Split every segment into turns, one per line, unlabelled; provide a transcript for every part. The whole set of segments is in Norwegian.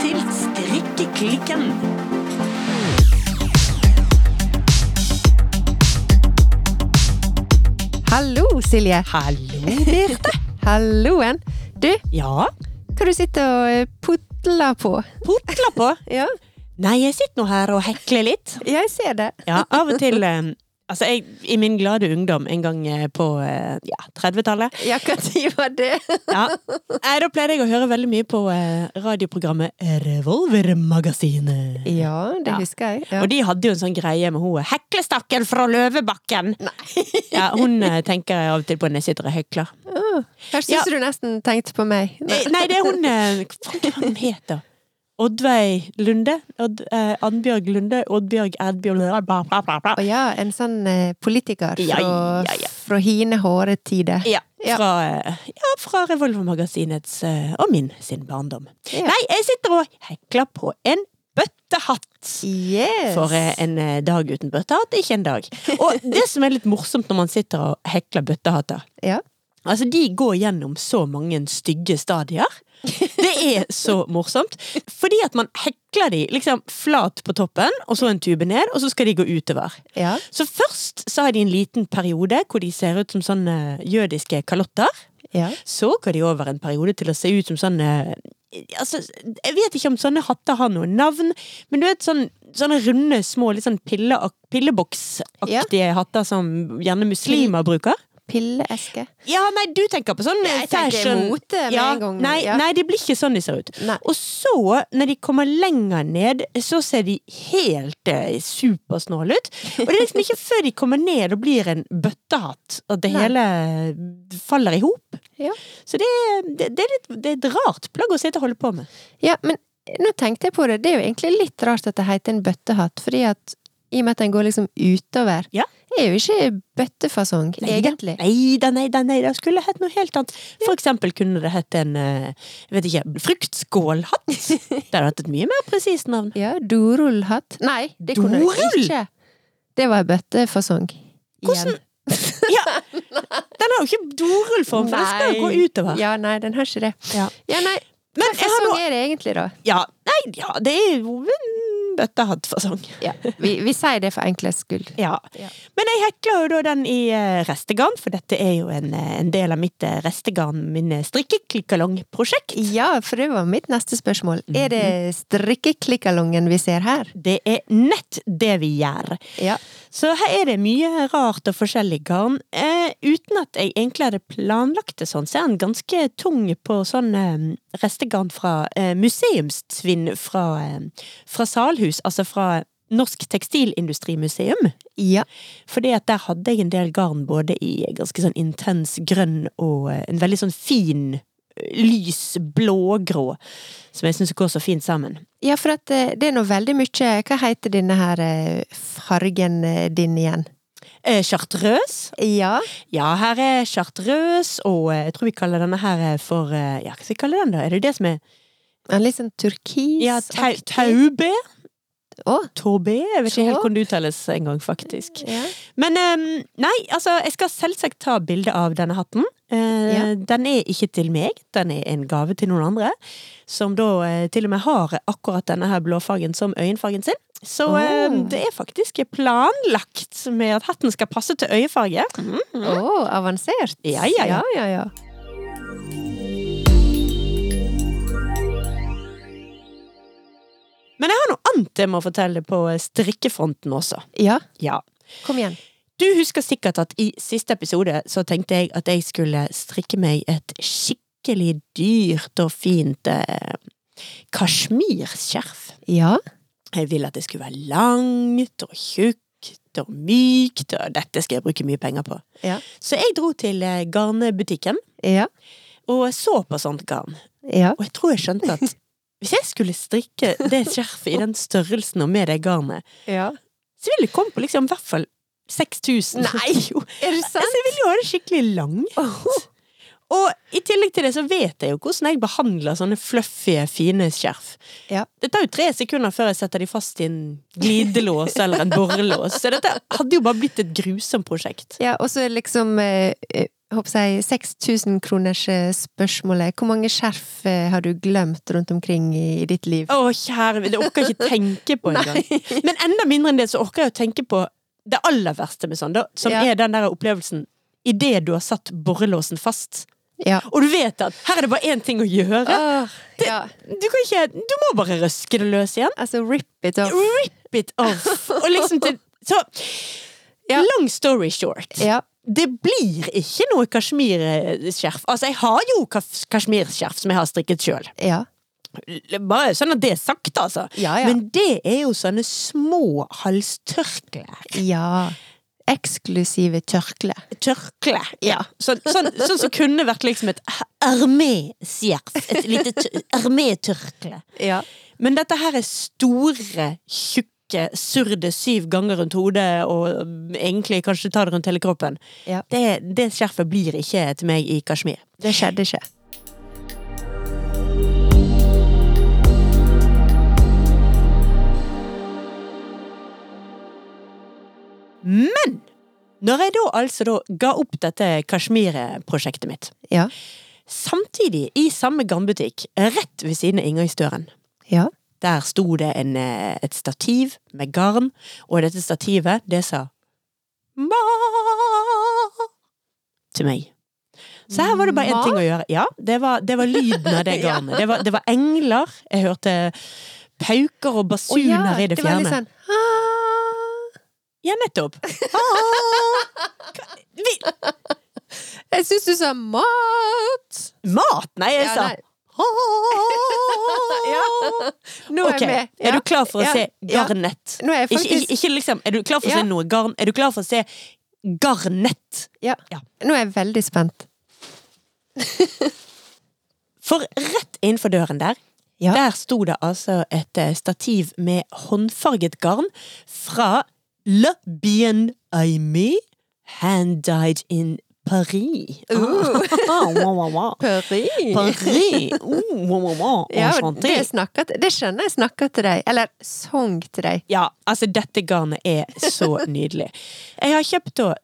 til Strikkeklikken.
Hallo, Silje.
Hallo.
Birte. Halloen. Du,
Ja,
hva du sitter og eh, putler på?
potla på.
Ja,
Nei, jeg sitter nå her og hekler litt.
jeg ser det.
Ja, av og til eh, Altså, jeg, i min glade ungdom en gang eh, på eh, ja, 30-tallet
Ja, hva tid var det?
ja. Nei, Da pleide jeg å høre veldig mye på eh, radioprogrammet Revolvermagasinet.
Ja, det
Ja.
husker jeg. Ja.
Og de hadde jo en sånn greie med hun heklestakken fra Løvebakken! Ja, hun eh, tenker jeg av og til på når jeg sitter og hekler.
Her syns du nesten tenkte på meg.
Eh, Nei, det er hun eh, Hva faen er hun heter hun? Oddveig Lunde? Odd, eh, Annbjørg Lunde? Oddbjørg Edbjørg bla, bla, bla, bla.
Å ja, en sånn eh, politiker fra,
Ja, ja, ja.
fra hine hårde tider.
Ja,
Ja.
fra, eh, ja, fra Revolvermagasinets eh, og min sin barndom.
Ja.
Nei, jeg sitter og hekler på en bøttehatt!
Yes!
For eh, en eh, dag uten bøttehatt er ikke en dag. Og det som er litt morsomt når man sitter og hekler bøttehatter,
Ja.
Altså, de går gjennom så mange stygge stadier. Det er så morsomt. Fordi at man hekler de liksom flat på toppen, og så en tube ned, og så skal de gå utover.
ja.
Så først så har de en liten periode hvor de ser ut som sånne jødiske kalotter.
Ja.
Så går de over en periode til å se ut som sånne Altså, jeg vet ikke om sånne hatter har noe navn, men du vet sånn, sånne runde, små, litt sånn pille, pilleboksaktige hatter som gjerne muslimer bruker.
Pilleeske.
Ja, nei, du tenker på sånn
Jeg tenker
fashion.
mote med
ja,
en gang.
Nei,
Ja.
nei, de blir ikke sånn de ser ut.
Nei.
Og så, når de kommer lenger ned, så ser de helt eh, supersnåle ut. Og det er liksom ikke før de kommer ned og blir en bøttehatt, at det
Nei.
hele faller i hop.
Ja.
Så det, er- det, det, er litt, det er et rart plagg å sitte og holde på med.
Ja, men nå tenkte jeg på det. Det er jo egentlig litt rart at det heter en bøttehatt, fordi at i og med at den går liksom utover,
Ja.
er jo ikke bøttefasong, egentlig.
Nei da, nei da, nei da. Skulle hett noe helt annet. For eksempel kunne det hett en eh, jeg vet ikke, fruktskålhatt. Det hadde hatt et mye mer presist navn.
Ja, dorullhatt. Nei, det kunne
Dorull?
det ikke. Det var en bøttefasong.
Hvordan- Ja! Den har jo ikke dorullform, for den skal jo gå utover.
Ja, nei, den har ikke det.
Ja.
Ja, nei,
Men
hva
jeg har
fasong
noe-
er det egentlig, da?
Ja, nei, ja, det er jo en bøttehattfasong.
Ja, vi, vi sier det for enklest skyld.
Ja.
Ja.
Men jeg hekler jo da den i eh, restegarn, for dette er jo en, eh, en del av mitt eh, restegarn, min eh, strikkeklikkalong-prosjekt.
Ja, for det var mitt neste spørsmål. Er det strikkeklikkalongen vi ser her?
Det er nett det vi gjør.
Ja.
Så her er det mye rart og forskjellig garn. Eh, uten at jeg egentlig hadde planlagt det sånn, så er den ganske tung på sånn eh, restegarn fra eh, museumstvinn fra, eh, fra Salhus, altså fra Norsk Tekstilindustrimuseum.
Ja.
Fordi at der hadde jeg en del garn både i ganske sånn intens grønn og eh, en veldig sånn fin eh, lys blågrå, som jeg syns går så fint sammen.
Ja, for at eh, det er nå veldig mye Hva heter denne her eh, fargen eh, din igjen?
Eh, chartreuse.
Ja.
Ja, her er chartreuse, og eh, jeg tror vi kaller denne her eh, for eh, Ja, hva skal vi kalle den, da? Er det det som er
En litt sånn turkis
ja, tau, Taube?
Å,
Taube? Jeg vet
Så.
ikke helt hvordan det uttales engang, faktisk.
ja.
Men eh, nei, altså, jeg skal selvsagt ta bilde av denne hatten. Eh,
Ja.
Den er ikke til meg, den er en gave til noen andre. Som da eh, til og med har akkurat denne her blåfargen som øyenfargen sin. Så eh,
Åh.
det er faktisk planlagt med at hatten skal passe til øyefarge. Mhm.
Å, avansert.
Ja, ja, ja.
ja, ja.
Men jeg har noe annet jeg må fortelle på eh, strikkefronten også.
Ja,
Ja.
kom igjen.
Du husker sikkert at i siste episode så tenkte jeg at jeg skulle strikke meg et skikkelig dyrt og fint eh, kasjmirskjerf.
Ja.
Jeg ville at det skulle være langt og tjukt og mykt, og dette skal jeg bruke mye penger på.
Ja.
Så jeg dro til eh, garnbutikken
Ja.
og så på sånt garn,
Ja.
og jeg tror jeg skjønte at hvis jeg skulle strikke det skjerfet i den størrelsen og med det garnet,
ja.
Så ville det komme på liksom i hvert fall 6000.
Nei!
jo.
Er det
Altså, jeg ville jo ha det skikkelig langt. Og i tillegg til det så vet jeg jo hvordan jeg behandler sånne fluffy, fine skjerf.
Ja.
Det tar jo tre sekunder før jeg setter de fast i en glidelås eller en borrelås, så dette hadde jo bare blitt et grusomt prosjekt.
Ja, og så liksom eh, eh, håper jeg, 6000 kroners eh, spørsmålet. Hvor mange skjerf eh, har du glemt rundt omkring i, i ditt liv?
Å, kjære vene, det orker jeg ikke tenke på engang. Men enda mindre enn det, så orker jeg å tenke på det aller verste med sånn, da, som
Ja.
er den der opplevelsen idet du har satt borrelåsen fast.
Ja.
Og du vet at her er det bare én ting å gjøre.
Åh, ja.
Du kan ikke Du må bare røske det løs igjen.
Altså, rip it off.
Rip it off. Og liksom til Så
Ja.
long story short.
Ja.
Det blir ikke noe kasjmirskjerf. Altså, jeg har jo kas- kasjmirskjerf som jeg har strikket sjøl.
Ja.
Bare sånn at det er sagt, altså.
Ja, ja.
Men det er jo sånne små halstørklær.
ja. Eksklusive tørkle.
Tørkle.
Ja.
Sånn, sånn, sånn som kunne vært liksom et ermeskjerf. Et lite t- ermetørkle.
Ja.
Men dette her er store, tjukke, surde syv ganger rundt hodet, og egentlig kanskje ta det rundt hele kroppen.
Ja.
Det, det skjerfet blir ikke til meg i Kashmir.
Det skjedde ikke.
Men når jeg da altså da ga opp dette Kashmir-prosjektet mitt,
Ja.
samtidig i samme garnbutikk, rett ved siden av inngangsdøren,
Ja.
der sto det en, eh, et stativ med garn, og dette stativet, det sa Ma til meg. Så her var det bare én
Ma?
ting å gjøre. Ja, det var, det var lyden av det
Ja.
garnet. Det var, det var engler. Jeg hørte pauker og
Å ja,
basuner i det
var
fjerne.
litt sånn «Ah».
Ja, nettopp. Ah. Vi,
Jeg syns du sa mat!
Mat? Nei, jeg
Ja,
sa
nei. Nå er
Ok,
jeg med. Ja.
er du klar for å
Ja.
se
Ja.
garnet?
Nå er jeg
Ikke,
Eh, faktisk
ikke, ikke liksom Er du klar for å
Ja.
se noe garn? Er du klar for å se garnet?
ja.
Ja.
Nå er jeg veldig spent.
For rett innenfor døren der,
Ja.
der sto det altså et eh, stativ med håndfarget garn fra Le Bien Aimé, hand dyed in Paris. Ah, wow, wow, wow.
Paris.
Paris! Oh, wow, wow, wow.
Ja, og
Enchanté.
det, snakker, til- det skjønner jeg snakker til deg. Eller sang til deg.
Ja, altså dette garnet er så nydelig. Jeg har kjøpt da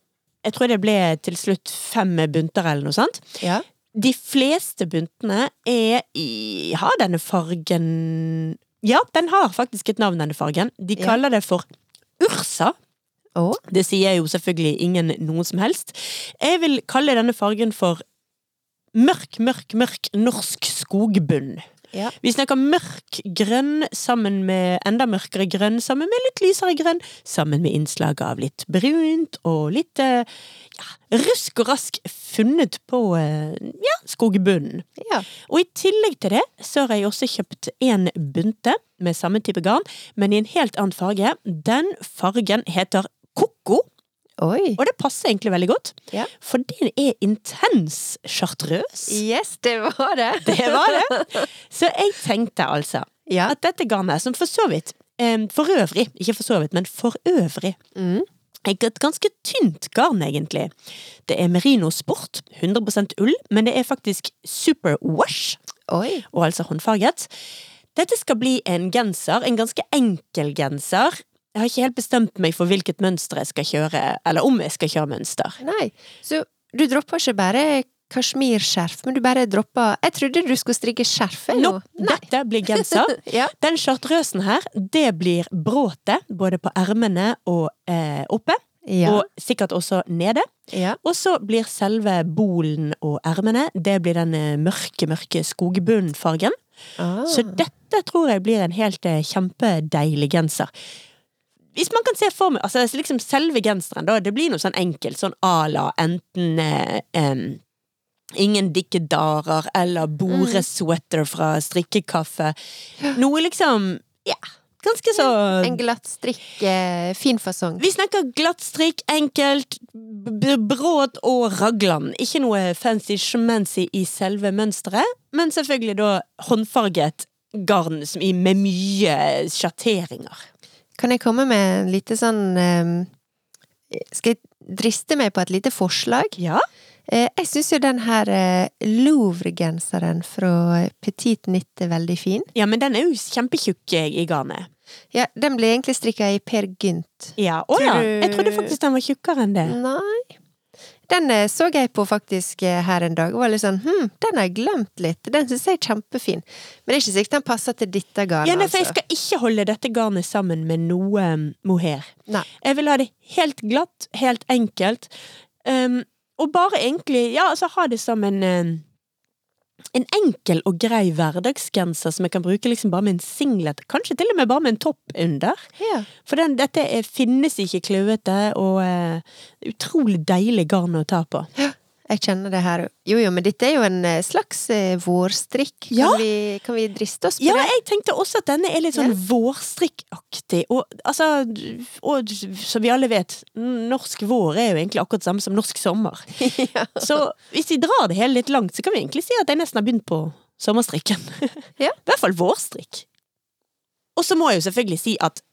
Jeg tror det ble til slutt fem bunter eller noe sånt.
Ja.
De fleste buntene er i Har denne fargen Ja, den har faktisk et navn, denne fargen. De
Ja.
kaller det for Ursa.
Å?
Det sier jo selvfølgelig ingen noe som helst. Jeg vil kalle denne fargen for mørk, mørk, mørk norsk skogbunn.
Ja.
Vi snakker mørk grønn sammen med enda mørkere grønn, sammen med litt lysere grønn, sammen med innslag av litt brunt og litt eh, ja, rusk og rask funnet på eh, ja, skogbunnen.
ja.
Og i tillegg til det så har jeg også kjøpt en bunte med samme type garn, men i en helt annen farge. Den fargen heter koko,
Oi.
og det passer egentlig veldig godt,
Ja.
for den er intens chartreuse.
Yes, det var det.
Det var det. Så jeg tenkte altså
Ja.
at dette garnet, som for så vidt em, For øvrig, ikke for så vidt, men for øvrig
Mm.
er Et ganske tynt garn, egentlig. Det er merino sport, 100 ull, men det er faktisk super wash,
Oi.
og altså håndfarget. Dette skal bli en genser, en ganske enkel genser. Jeg har ikke helt bestemt meg for hvilket mønster jeg skal kjøre, eller om jeg skal kjøre mønster.
Nei. Så du dropper ikke bare kasjmirskjerf, men du bare dropper Jeg trodde du skulle strikke skjerf, jeg, nå.
Nope, dette blir genser.
Ja.
Den chartreusen her, det blir bråte, både på ermene og eh, oppe,
Ja.
og sikkert også nede.
ja.
Og så blir selve bolen og ermene, det blir den eh, mørke, mørke skogbunnfargen.
Ah.
Så dette tror jeg blir en helt eh, kjempedeilig genser. Hvis man kan se for meg, altså liksom selve genseren da, det blir noe sånn enkelt, sånn à la enten eh, em, Ingen dikkedarer eller boresweater
Mm.
fra strikkekaffe. Noe liksom, ja, ganske så
En glatt strikk, eh, fin fasong.
vi snakker glatt strikk, enkelt, b- bråd og raglan. Ikke noe fancy-schmancy i selve mønsteret, men selvfølgelig da håndfarget garn som i, med mye sjatteringer.
Kan jeg komme med en lite sånn ehm, Skal jeg driste meg på et lite forslag?
Ja.
Eh, jeg syns jo den her eh, Louvre-genseren fra Petit Nitt er veldig fin.
ja, men den er jo kjempetjukk eh, i garnet.
Ja, den ble egentlig strikka i Per Gynt.
Ja, Å ja,
Tror du-
jeg trodde faktisk den var tjukkere enn det.
Nei Den eh, så jeg på faktisk eh, her en dag, og var litt sånn hm, den har jeg glemt litt. Den syns jeg er kjempefin. Men det er ikke sikkert den passer til dette garnet,
Ja, nei, for jeg
altså.
skal ikke holde dette garnet sammen med noe um, mohair.
Nei.
Jeg vil ha det helt glatt, helt enkelt. Um, og bare egentlig, ja, altså ha det som en um, en enkel og grei hverdagsgenser som jeg kan bruke liksom bare med en singlet, kanskje til og med bare med en topp under.
Ja.
For den, dette er, finnes ikke kløvete og eh, utrolig deilig garn å ta på.
Jeg kjenner det her. Jo jo, men dette er jo en eh, slags eh, vårstrikk. Kan,
Ja.
vi, kan vi driste oss på
Ja,
det?
jeg tenkte også at denne er litt sånn vårstrikkaktig, og altså Og som vi alle vet, norsk vår er jo egentlig akkurat samme som norsk sommer.
Ja.
Så hvis vi drar det hele litt langt, så kan vi egentlig si at jeg nesten har begynt på sommerstrikken.
Ja.
I hvert fall vårstrikk. Og så må jeg jo selvfølgelig si at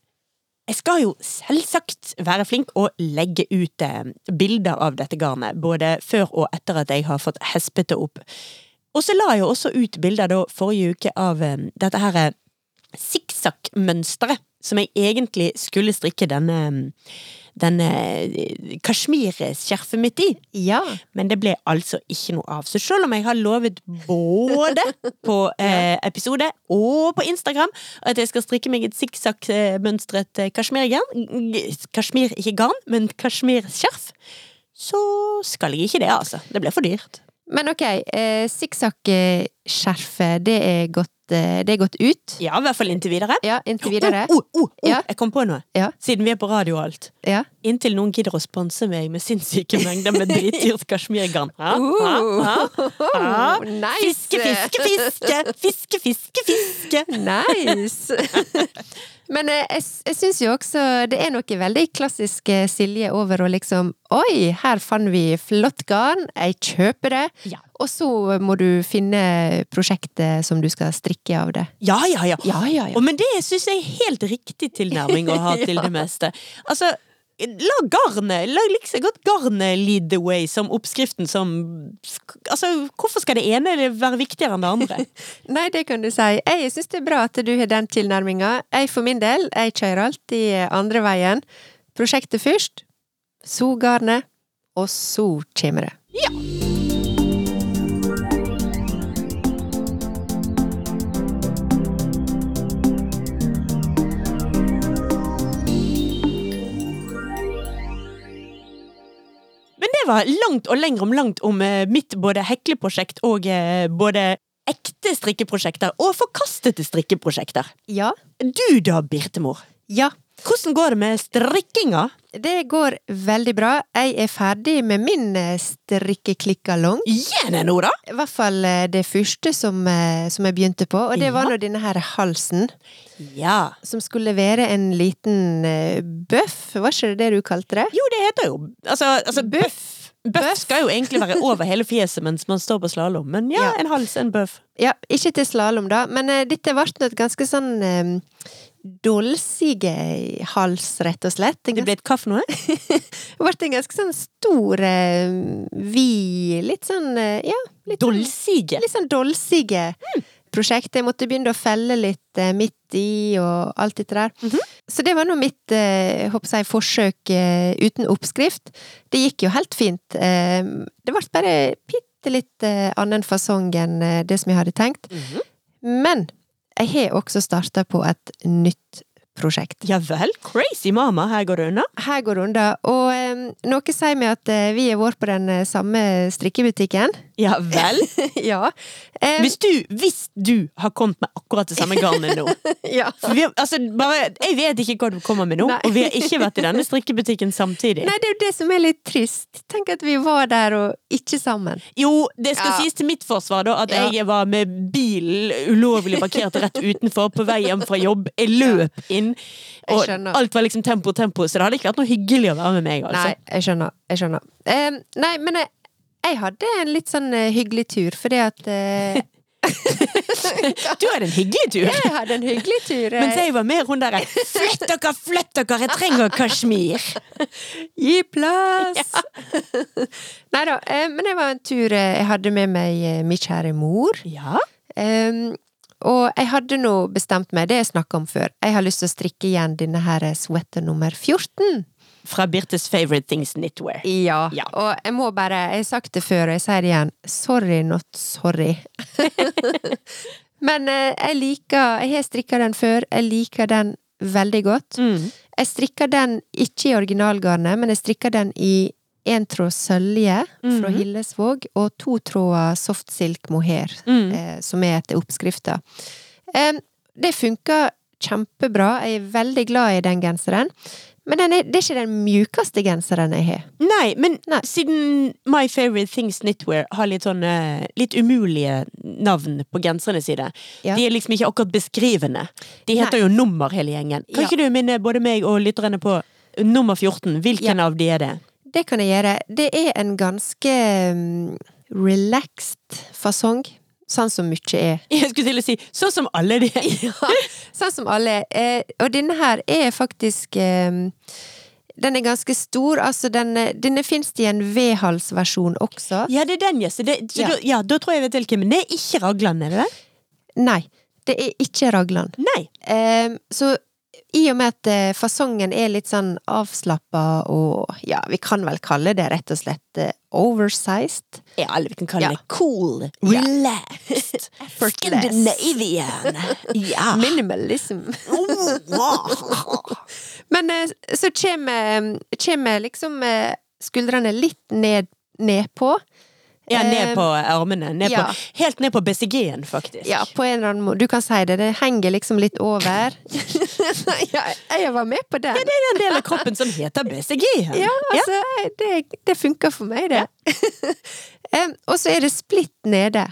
jeg skal jo selvsagt være flink og legge ut eh, bilder av dette garnet, både før og etter at jeg har fått hespet det opp. Og så la jeg jo også ut bilder da forrige uke av eh, dette her eh, sikksakk-mønsteret som jeg egentlig skulle strikke denne, eh, denne eh, kasjmirskjerfet mitt i.
Ja.
Men det ble altså ikke noe av. Så selv om jeg har lovet både på eh, episode og på Instagram at jeg skal strikke meg et sikksakk-mønstret eh, kasjmirgarn g- Kasjmir, ikke garn, men kasjmirskjerf. Så skal jeg ikke det, altså. Det ble for dyrt.
Men ok, eh, sikksakk-skjerfet, det, er gått, eh, det er gått ut.
Ja, i hvert fall inntil videre.
Ja, inntil videre.
Oh, oh, oh, oh.
Ja.
Jeg kom på noe.
Ja.
Siden vi er på radio og alt.
Ja.
Inntil noen gidder å sponse meg med sinnssyke mengder med dritdyrt kasjmirgarn. Ha, ha, ha.
Oh, nice!
Ah, Fiske, fiske, fiske! Fiske, fiske, fiske!
Nice! Men eh, jeg, s- jeg syns jo også det er noe veldig klassisk eh, Silje over å liksom Oi, her fant vi flott garn, jeg kjøper det.
Ja.
Og så må du finne prosjektet som du skal strikke av det.
Ja, ja, ja.
Ja, ja,
Og men det syns jeg er helt riktig tilnærming å ha til det meste. Altså, la garnet La liksom godt garnet lead the way som oppskriften som Altså, hvorfor skal det ene være viktigere enn det andre?
Nei, det kan du si. Jeg syns det er bra at du har den tilnærminga. Jeg for min del, jeg kjører alltid eh, andre veien. Prosjektet først, så garnet, og så kommer det.
Men det var langt og lenger om langt om eh, mitt både hekleprosjekt og eh, både ekte strikkeprosjekter og forkastede strikkeprosjekter.
Ja.
Du da, Birtemor.
Ja.
Hvordan går det med strikkinga?
Det går veldig bra. Jeg er ferdig med min eh, strikkeklikkalong.
Igjen nå, da?
I hvert fall eh, det første som, eh, som jeg begynte på, og det var
Ja.
nå denne her halsen.
Ja.
Som skulle være en liten eh, bøff, var ikke det det du kalte det?
Jo, det heter jo Altså, altså bøff. Bøff
Bøff.
skal jo egentlig være over hele fjeset mens man står på slalåm, men ja,
Ja.
en hals, en bøff.
Ja, ikke til slalåm, da, men eh, dette ble nå et ganske sånn eh, dolsige hals, rett og slett. En
Det
gans-
ble et kaff nå, eh?
Det ble en ganske sånn stor, eh, vid, litt sånn eh, Ja, litt sånn-
Dolsige.
litt sånn dolsige prosjekt. Jeg måtte begynne å felle litt eh, midt i og alt dette der.
Mhm.
Så det var nå mitt eh, håper jeg, forsøk eh, uten oppskrift. Det gikk jo helt fint. Eh, det ble bare bitte litt eh, annen fasong enn eh, det som jeg hadde tenkt.
Mhm.
Men jeg har også starta på et nytt prosjekt.
Ja vel, crazy mama, her går det unna.
Her går det unna. Og eh, noe sier meg at eh, vi har vært på den eh, samme strikkebutikken.
Ja vel.
ja. Eh,
Hvis du, hvis du har kommet med akkurat det samme garnet nå,
ja.
For vi har, altså, bare, jeg vet ikke hva du kommer med nå,
Nei.
og vi har ikke vært i denne strikkebutikken samtidig.
Nei, det er jo det som er litt trist. Tenk at vi var der og ikke sammen.
Jo, det skal
Ja.
sies til mitt forsvar, da, at
Ja.
jeg var med bilen ulovlig parkert rett utenfor på vei hjem fra jobb. Jeg løp inn,
Jeg
og
skjønner.
alt var liksom tempo, tempo, så det hadde ikke vært noe hyggelig å være med meg, altså.
Nei, jeg skjønner. Jeg skjønner. Em, nei, men jeg, jeg hadde en litt sånn eh, hyggelig tur, fordi at eh,
Du hadde en hyggelig tur.
Jeg hadde en hyggelig tur. eh.
Mens jeg var mer hun derre Flytt dere, flytt dere, jeg trenger kasjmir!
Gi plass! nei da, eh, men det var en tur eh, jeg hadde med meg eh, min kjære mor.
Ja.
Em, og jeg hadde nå bestemt meg, det har jeg snakka om før, jeg har lyst til å strikke igjen denne her eh, sweater nummer 14.
fra Birtes Favorite Things Knitwear.
Ja.
Ja.
Og jeg må bare Jeg har sagt det før, og jeg sier det igjen. Sorry, not sorry. Men eh, jeg liker Jeg har strikka den før. Jeg liker den veldig godt.
Mm.
Jeg strikker den ikke i originalgarnet, men jeg strikker den i entråd sølje fra
Mhm.
Hillesvåg og to tråder soft silk mohair,
Mm.
eh, som er etter oppskrifta. Em, det funker kjempebra. Jeg er veldig glad i den genseren. Men den er, det er ikke den mjukeste genseren jeg har.
Nei, men
Nei.
siden My Favorite Things Knitwear har litt sånne litt umulige navn på genserne sine
Ja.
De er liksom ikke akkurat beskrivende. De heter jo nummer, hele gjengen. Kan
Ja.
ikke du minne både meg og lytterne på nummer 14? Hvilken av de er det?
Det kan jeg gjøre. Det er en ganske mm, relaxed fasong, sånn som mye er.
Jeg skulle til å si sånn som alle de.
Ja, sånn som alle. Eh, og denne her er faktisk eh, Den er ganske stor. Altså, den, eh, denne fins det i en V-halsversjon også.
Ja, det er den, ja. Så, det, så
Ja.
Da, ja, da tror jeg jeg vet hvilken. Men det er ikke Ragland, er det det?
Nei, det er ikke raglan.
Nei.
Eh, så i og med at eh, fasongen er litt sånn avslappa og ja, vi kan vel kalle det rett og slett eh, oversized.
Ja, eller vi kan kalle
Ja.
det cool,
Ja.
relaxed,
Effortless.
Scandinavian. Ja.
Minimalism. Men eh, så kommer, kommer liksom eh, skuldrene litt ned, nedpå.
ja, ned
Eh,
på armene. Ned
ja.
på, helt ned på BCG-en, faktisk.
Ja, på en eller annen måte. Du kan si det. Det henger liksom litt over. ja, jeg var med på den.
Det er den delen av kroppen som heter BCG.
Ja, altså, jeg- det, det funker for meg, det. Em, og så er det splitt nede,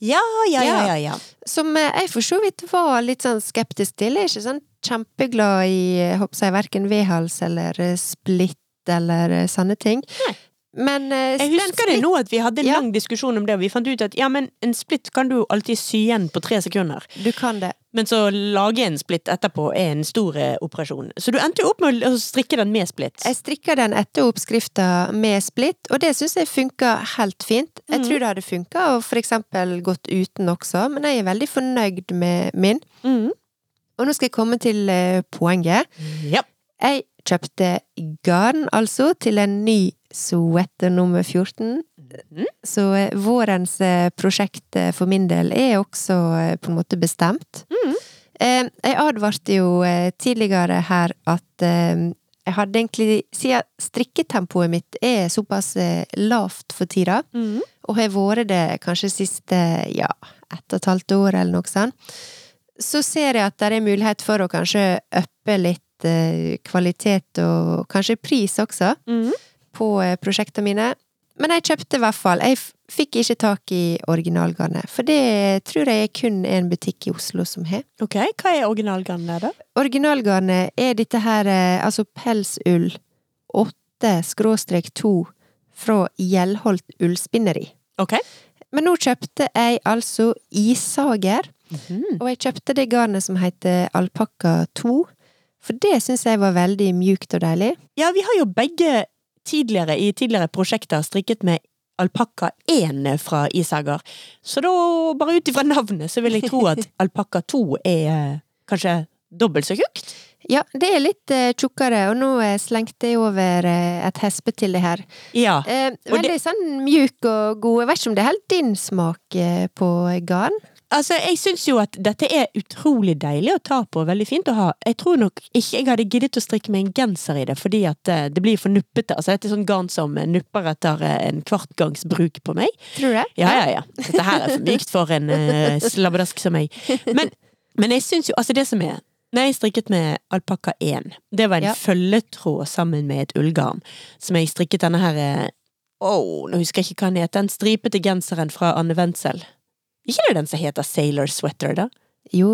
ja, ja, ja. ja, ja.
som eh, jeg for så vidt var litt sånn skeptisk til. Jeg er ikke sånn kjempeglad i eh, håper jeg, verken V-hals eller eh, splitt eller eh, sånne ting.
Nei.
Men eh,
Jeg
den
husker det nå at vi hadde en
Ja.
lang diskusjon om det, og vi fant ut at ja, men en splitt kan du jo alltid sy igjen på tre sekunder.
splitt- Du kan det.
Men så lage en splitt etterpå er en stor eh, operasjon. Så du endte jo opp med å strikke den med splitt.
Jeg strikker den etter oppskrifta med splitt, og det syns jeg funker helt fint. Jeg
Mhm.
tror det hadde funka, og for eksempel gått uten også, men jeg er veldig fornøyd med min.
Mm.
Og nå skal jeg komme til eh, poenget.
Ja.
Jeg kjøpte garn, altså, til en ny sweater nummer 14.
Mhm.
Så eh, vårens eh, prosjekt eh, for min del er også eh, på en måte bestemt.
Mhm.
Eh, Jeg advarte jo eh, tidligere her at eh, jeg hadde egentlig Siden strikketempoet mitt er såpass eh, lavt for tida,
Mm.
og har vært det kanskje siste ja, ett og et halvt år eller noe sånt, så ser jeg at det er mulighet for å kanskje øppe litt eh, kvalitet og kanskje pris også
Mm.
på eh, prosjektene mine. Men jeg kjøpte i hvert fall. Jeg f- fikk ikke tak i originalgarnet, for det tror jeg er kun en butikk i Oslo som har.
Ok, hva er originalgarnet da?
Originalgarnet er dette her, eh, altså pelsull 8-2 fra Gjellholt ullspinneri.
Ok.
Men nå kjøpte jeg altså issager,
Mhm.
og jeg kjøpte det garnet som heter alpakka 2, for det syns jeg var veldig mjukt og deilig.
Ja, vi har jo begge tidligere i tidligere prosjekter strikket med alpakka 1 fra Isager. Så da, bare ut ifra navnet, så vil jeg tro at alpakka 2 er eh, kanskje dobbelt så tjukt.
Ja, det er litt eh, tjukkere, og nå eh, slengte jeg over eh, et hespe til det her.
Ja.
Eh,
Og
veldig sånn mjuk og god. Jeg vet ikke om det er helt din smak eh, på garn.
Altså, jeg syns jo at dette er utrolig deilig å ta på, veldig fint å ha. Jeg tror nok ikke jeg hadde giddet å strikke meg en genser i det, fordi at eh, det blir for nuppete. Altså, dette er sånn garn som eh, nupper etter eh, en kvart gangs bruk på meg.
Tror du det?
Ja, ja, ja. Dette her er for mykt for en uh, slabbedask som meg. Men, men jeg syns jo Altså, det som er Når jeg strikket med alpakka 1, det var en
Ja.
følgetråd sammen med et ullgarn, som jeg strikket denne her eh, Åh, nå husker jeg ikke hva den heter. Den stripete genseren fra Anne Wendsel. Ikke det den som heter Sailor Sweater, da?
Jo,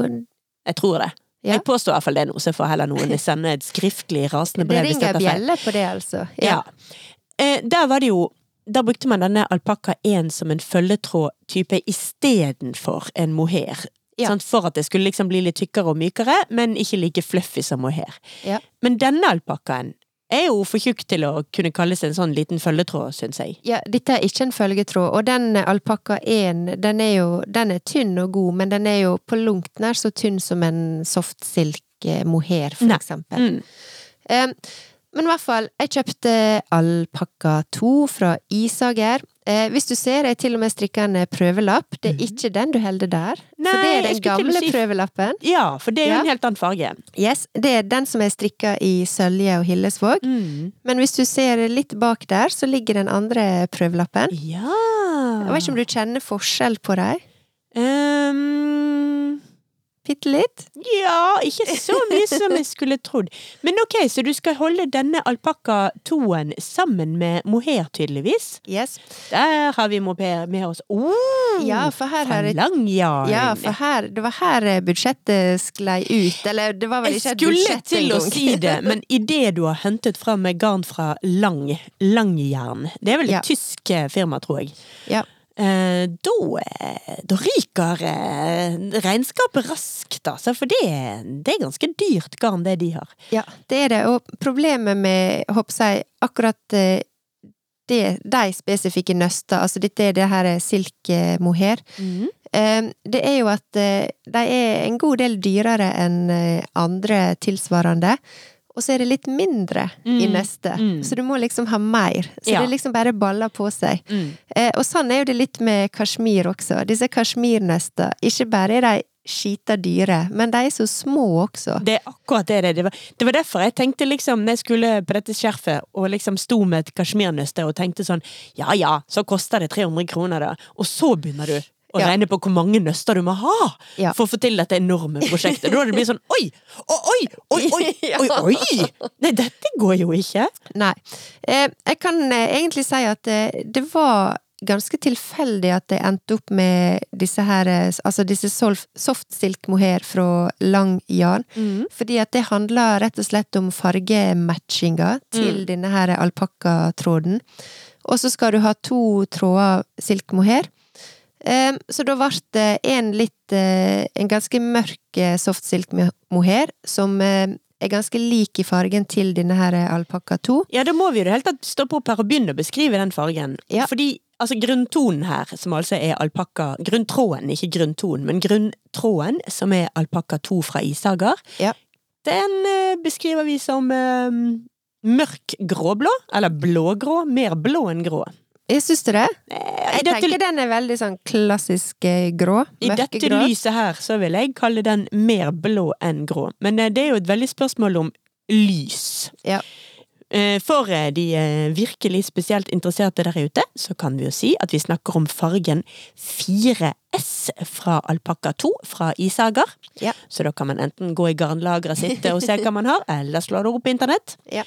Jeg tror det.
Ja.
Jeg påstår i hvert fall det nå, så får heller noen sende et skriftlig rasende
det
brev hvis
ringer
dette er feil.
bjelle på det, altså.
Ja. Eh, der var det jo Da brukte man denne alpakka 1 som en følgetråd-type istedenfor en mohair.
Ja.
Sånn, for at det skulle liksom bli litt tykkere og mykere, men ikke like fluffy som mohair.
Ja.
Men denne alpakkaen er jo for tjukk til å kunne kalles en sånn liten følgetråd, syns jeg.
Ja, dette er ikke en følgetråd, og den alpakka 1, den er jo den er tynn og god, men den er jo på langt nær så tynn som en soft silk eh, mohair, for
Nei.
eksempel.
Mm.
Em, Men i hvert fall, jeg kjøpte alpakka 2 fra Isager. Eh, hvis du ser, jeg til og med strikka en eh, prøvelapp. Det er ikke den du holder der.
Mhm. Nei,
for det
jeg
er den
skulle til å
gamle
si-
prøvelappen.
Ja, for det er jo
Ja.
en helt annen farge.
Yes, Det er den som er strikka i Sølje og Hillesvåg.
Mm.
Men hvis du ser litt bak der, så ligger den andre prøvelappen.
Ja
Jeg vet ikke om du kjenner forskjell på dem?
Ehm,
Bitte litt?
Ja, ikke så mye som jeg skulle trodd. Men ok, så du skal holde denne alpakka-toen sammen med mohair, tydeligvis.
Yes.
Der har vi mohair med oss. Oh,
Ja, for her har jeg
Langjarn!
Ja, for her, det var her eh, budsjettet sklei ut. Eller det var vel
jeg
ikke et
skulle
budsjett
til å
engang.
si det, men idet du har hentet fram med garn fra Lang, Langjern Det er vel et
Ja.
tysk eh, firma, tror jeg.
Ja.
Eh, da, eh, da ryker eh, regnskapet raskt, altså. For det, det er ganske dyrt garn, det de har.
Ja, det er det. Og problemet med håper jeg, akkurat eh, det, de spesifikke nøster, altså dette er det her er silk eh, mohair, eh, det er jo at eh, de er en god del dyrere enn eh, andre tilsvarende. Og så er det litt mindre i
Mm,
nøstet,
mm.
så du må liksom ha mer. Så
Ja.
det liksom bare baller på seg.
Mm.
Eh, og sånn er jo det litt med kasjmir også. Disse kasjmirnøster, ikke bare er de skita dyre, men de er så små også.
Det er akkurat det det er. Det var, det var derfor jeg tenkte liksom, når jeg skulle på dette skjerfet og liksom sto med et kasjmirnøste og tenkte sånn, ja ja, så koster det 300 kroner da. Og så begynner du å
Ja.
regne på hvor mange nøster du må ha
Ja.
for å få til dette enorme prosjektet. Da hadde det blitt sånn, oi, å, oi, oi, oi, oi, oi. Nei, dette går jo ikke.
Nei. Eh, jeg kan eh, egentlig si at eh, det var ganske tilfeldig at jeg endte opp med disse her eh, s- Altså disse solf- soft silk mohair fra Lang Jarn. Fordi at det handla rett og slett om fargematchinga til denne her alpakkatråden. Og så skal du ha to tråder silk mohair. Em, Så da ble det en litt eh, En ganske mørk eh, soft silk mo- mohair, som eh, er ganske lik i fargen til denne her eh, alpakka 2.
Ja, da må vi jo i det hele tatt stoppe opp her og begynne å beskrive den fargen.
Ja.
Fordi altså, grunntonen her, som altså er alpakka Grunntråden, ikke grunntonen, men grunntråden, som er alpakka 2 fra Isager,
Ja.
den eh, beskriver vi som eh, mørk gråblå, eller blågrå. Mer blå enn grå.
Jeg syns det.
Eh,
Jeg
I dette,
tenker den er veldig sånn klassisk eh, grå.
i dette
mørkegrå.
lyset her så vil jeg kalle den mer blå enn grå. Men eh, det er jo et veldig spørsmål om lys.
Ja.
Eh, For eh, de eh, virkelig spesielt interesserte der ute, så kan vi jo si at vi snakker om fargen 4S fra Alpakka 2 fra Isager.
Ja.
Så da kan man enten gå i garnlageret sitt og se hva man har, eller slå det opp på internett.
Ja.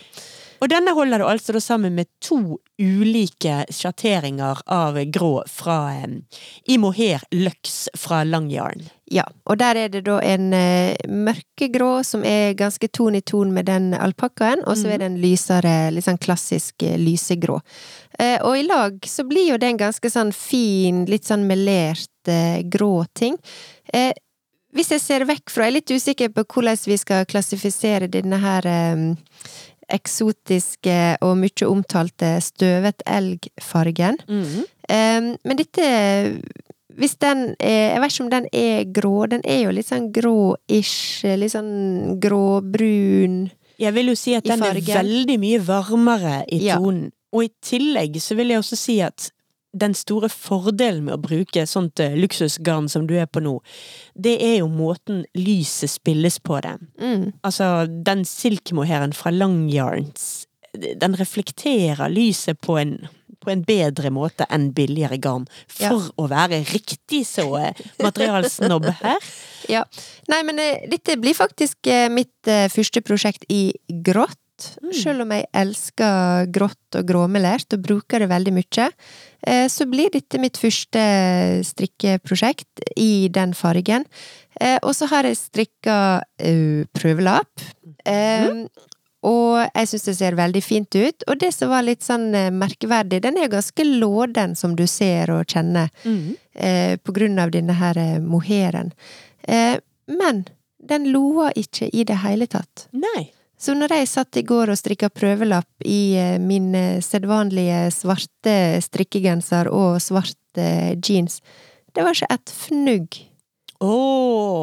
Og denne holder du altså da sammen med to ulike sjatteringer av grå fra eh, i mohair løks fra Langjern.
Ja, og der er det da en eh, mørkegrå som er ganske ton i ton med den alpakkaen, og så er det en lysere, litt sånn klassisk eh, lysegrå. Eh, og i lag så blir jo det en ganske sånn fin, litt sånn melert eh, grå ting. Eh, hvis jeg ser vekk fra, jeg er litt usikker på hvordan vi skal klassifisere denne her eh, eksotiske og mye omtalte støvet elg-fargen.
Mhm.
Ehm, men dette Hvis den er Jeg vet ikke om den er grå. Den er jo litt sånn grå-ish. Litt sånn gråbrun.
Jeg vil jo si at
I
den er
fargen.
veldig mye varmere i
Ja.
tonen. Og i tillegg så vil jeg også si at den store fordelen med å bruke sånt eh, luksusgarn som du er på nå, det er jo måten lyset spilles på det.
Mm.
Altså, den silkmoheren fra Langyarns, den reflekterer lyset på en på en bedre måte enn billigere garn,
Ja.
for å være riktig så eh, materialsnobb her.
Ja. Nei, men eh, dette blir faktisk eh, mitt eh, første prosjekt i grått. Selv om jeg elsker grått og gråmelert og bruker det veldig mye, eh, så blir dette mitt første strikkeprosjekt i den fargen. Eh, Og så har jeg strikka eh, prøvelapp. Eh, Og jeg syns det ser veldig fint ut. Og det som var litt sånn eh, merkverdig, den er jo ganske låden, som du ser og kjenner eh, på grunn av denne her eh, moheren. Eh, men den loa ikke i det hele tatt.
Nei.
Så når jeg satt i går og strikka prøvelapp i eh, min eh, sedvanlige svarte strikkegenser og svart eh, jeans, det var ikke et fnugg
Å,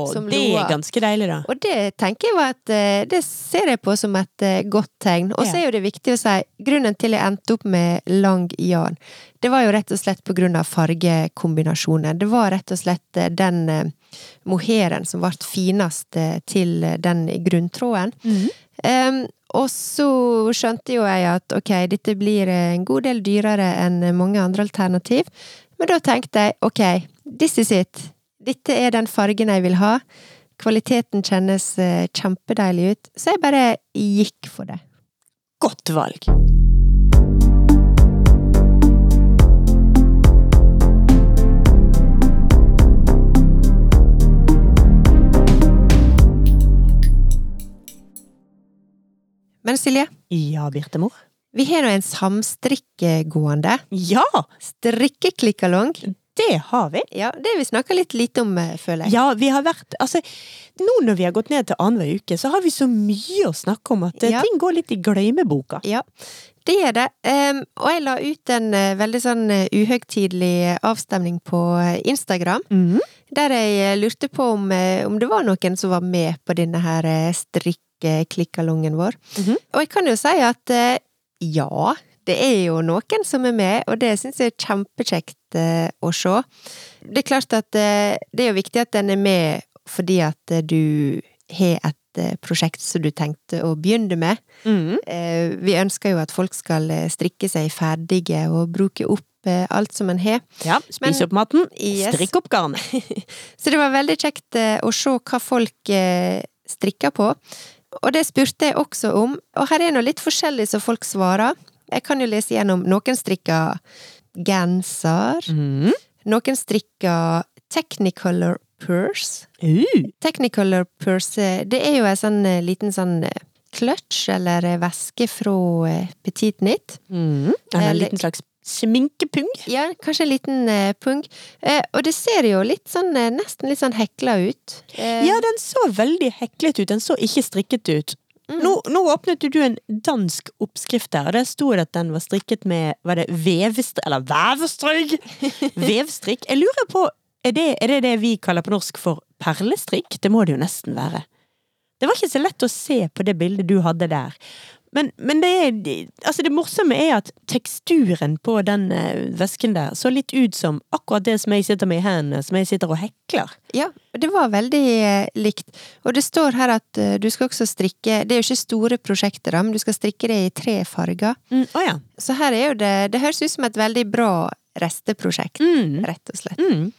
Som
det er
loa.
ganske deilig, da.
Og det tenker jeg var et eh, Det ser jeg på som et eh, godt tegn. Og så
Ja.
er jo det viktig å si grunnen til jeg endte opp med lang jarn. Det var jo rett og slett på grunn av fargekombinasjonen. Det var rett og slett eh, den eh, moheren som ble finest eh, til eh, den grunntråden.
Mhm.
Em, og så skjønte jo jeg at ok, dette blir eh, en god del dyrere enn eh, mange andre alternativ. Men da tenkte jeg ok, this is it. Dette er den fargen jeg vil ha. Kvaliteten kjennes eh, kjempedeilig ut. Så jeg bare gikk for det.
Godt valg.
Men Silje,
Ja, Birtemor.
vi har nå en samstrikke gående.
Ja,
Strikkeklikkalong.
det har vi.
Ja, det vi snakka litt lite om, eh, føler jeg.
Ja, vi har vært Altså, nå når vi har gått ned til annenhver uke, så har vi så mye å snakke om at eh,
Ja.
ting går litt i glemmeboka.
Ja, det er det. Em, og jeg la ut en eh, veldig sånn eh, uhøytidelig avstemning på eh, Instagram,
Mhm.
der jeg eh, lurte på om, eh, om det var noen som var med på denne her eh, strikkeklikkalongen vår.
Mhm.
Og jeg kan jo si at eh, ja, det er jo noen som er med, og det syns jeg er kjempekjekt eh, å se. Det er klart at eh, det er jo viktig at den er med fordi at eh, du har et eh, prosjekt som du tenkte å begynne med.
Mhm.
Eh, Vi ønsker jo at folk skal eh, strikke seg ferdige og bruke opp eh, alt som en har.
Ja, spis
Men-
opp maten,
Yes.
strikk opp garnet.
Så det var veldig kjekt eh, å se hva folk eh, strikker på. Og det spurte jeg også om, og her er nå litt forskjellig som folk svarer. Jeg kan jo lese gjennom. Noen strikker genser,
Mhm.
noen strikker technicolor purse.
Uh,
Technicolor purse, eh, det er jo en sånn eh, liten sånn eh, clutch eller eh, væske fra eh, Petit Knit.
mhm. Eller en
Eller-
liten slags sminkepung.
Ja, kanskje en liten eh, pung. Eh, og det ser jo litt sånn, eh, nesten litt sånn hekla ut. Eh,
Ja, den så veldig heklet ut. Den så ikke strikket ut.
Mm.
Nå, nå åpnet jo du en dansk oppskrift der, og der sto det at den var strikket med var det vevstrikk Eller veverstrikk! Vevstrikk. Jeg lurer på er det, er det det vi kaller på norsk for perlestrikk? Det må det jo nesten være. Det var ikke så lett å se på det bildet du hadde der. Men, men det, er, altså det morsomme er at teksturen på den eh, vesken der så litt ut som akkurat det som jeg sitter med i hendene, som jeg sitter og hekler.
Ja, det var veldig eh, likt. Og det står her at eh, du skal også strikke Det er jo ikke store prosjekter, da, men du skal strikke det i tre farger.
Å mm, å ja.
Så her er jo det Det høres ut som et veldig bra resteprosjekt,
Mm.
rett og slett.
Mm.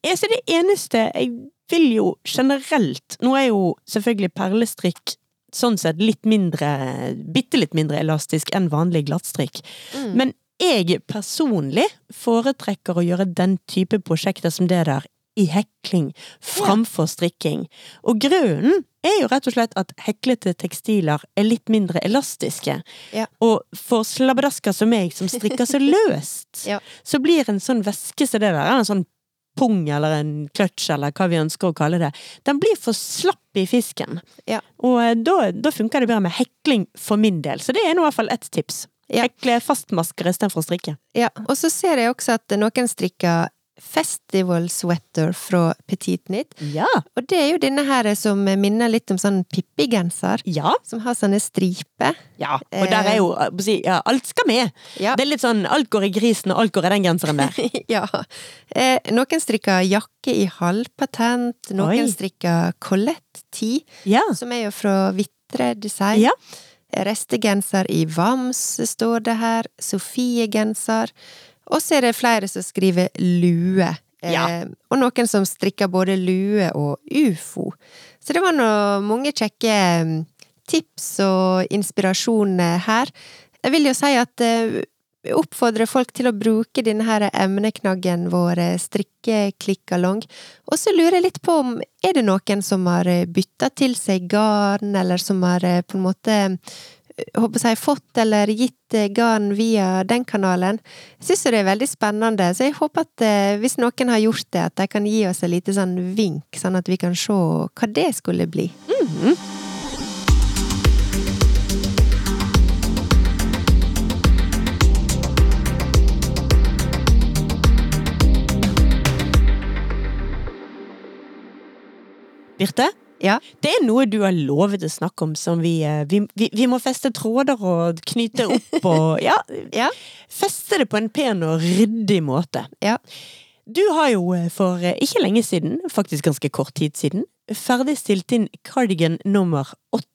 Ja, så det eneste jeg vil jo generelt Nå er jo selvfølgelig perlestrikk sånn sett litt mindre Bitte litt mindre elastisk enn vanlig glattstrikk.
Mm.
Men jeg personlig foretrekker å gjøre den type prosjekter som det der i hekling framfor strikking. Og grunnen er jo rett og slett at heklete tekstiler er litt mindre elastiske.
Ja.
Og for slabbedasker som meg, som strikker så løst,
Ja.
så blir en sånn væske som det der, en sånn pung eller en kløtsj eller hva vi ønsker å kalle det, den blir for slapp i fisken.
Ja.
Og eh, da, da funker det bedre med hekling for min del, så det er nå i hvert fall ett tips.
Ja.
Hekle fastmasker istedenfor å strikke.
Ja, og så ser jeg også at noen strikker festival sweater fra Petit Knit.
Ja.
Og det er jo denne her som minner litt om sånn Pippi-genser.
Ja.
som har sånne striper.
ja. Og der er jo eh, på å si, ja, alt skal med.
Ja.
Det er litt sånn alt går i grisen, og alt går i den genseren der.
ja. Eh, noen strikker jakke i halvpatent, noen
Oi.
strikker Colette 10,
Ja.
som er jo fra Vitre Design.
Ja.
Restegenser i Vams står det her. Sofie-genser. Og så er det flere som skriver lue. Eh,
Ja.
Og noen som strikker både lue og ufo. Så det var nå mange kjekke mm, tips og inspirasjon eh, her. Jeg vil jo si at eh, jeg oppfordrer folk til å bruke denne her emneknaggen vår, eh, strikkeklikkalong. Og så lurer jeg litt på om er det noen som har bytta til seg garn, eller som har eh, på en måte jeg håper jeg, fått eller gitt eh, garn via den kanalen. Jeg syns jo det er veldig spennende, så jeg håper at eh, hvis noen har gjort det, at de kan gi oss et lite sånn vink, sånn at vi kan se hva det skulle bli.
Birte?
Ja.
Det er noe du har lovet å snakke om som vi eh, Vi, vi, vi må feste tråder og knyte opp og ja,
Ja.
Feste det på en pen og ryddig måte.
Ja.
Du har jo eh, for eh, ikke lenge siden, faktisk ganske kort tid siden, ferdigstilt inn cardigan nummer åtte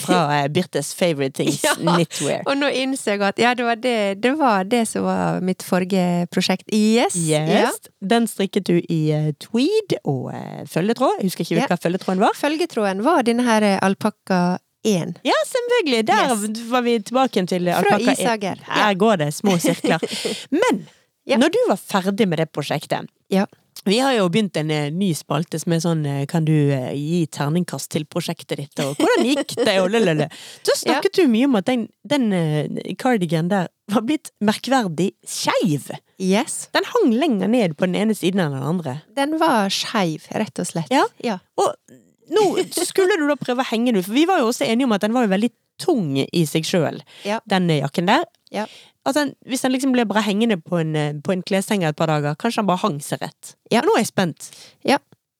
fra eh, Birtes Favorite Things
Ja.
Knitwear.
Og nå innser jeg at ja, det var det, det var det som var mitt forrige prosjekt. Yes. Ja.
Yes. Den strikket du i eh, tweed og eh, følgetråd. Jeg husker ikke
Ja.
hvilken følgetråden var.
Følgetråden var denne her alpakka 1
Ja, selvfølgelig. Der var vi tilbake igjen til
fra
alpakka én.
Isager.
Her går det små sirkler. Men
Ja.
når du var ferdig med det prosjektet
Ja.
Vi har jo begynt en eh, ny spalte som er sånn eh, Kan du eh, gi terningkast til prosjektet ditt, og hvordan gikk det, og lalalala. Så snakket du mye om at den, den eh, cardigan der var blitt merkverdig skeiv.
Yes.
Den hang lenger ned på den ene siden enn den andre.
Den var skeiv, rett og slett.
Ja.
ja.
Og nå skulle du da prøve å henge den ut, for vi var jo også enige om at den var jo veldig tung i seg sjøl,
Ja.
den jakken der.
Ja.
At den, hvis den liksom ble bare hengende på en, eh, på en kleshenger et par dager, kanskje den bare hang seg rett.
Ja.
Nå er jeg spent.
Ja.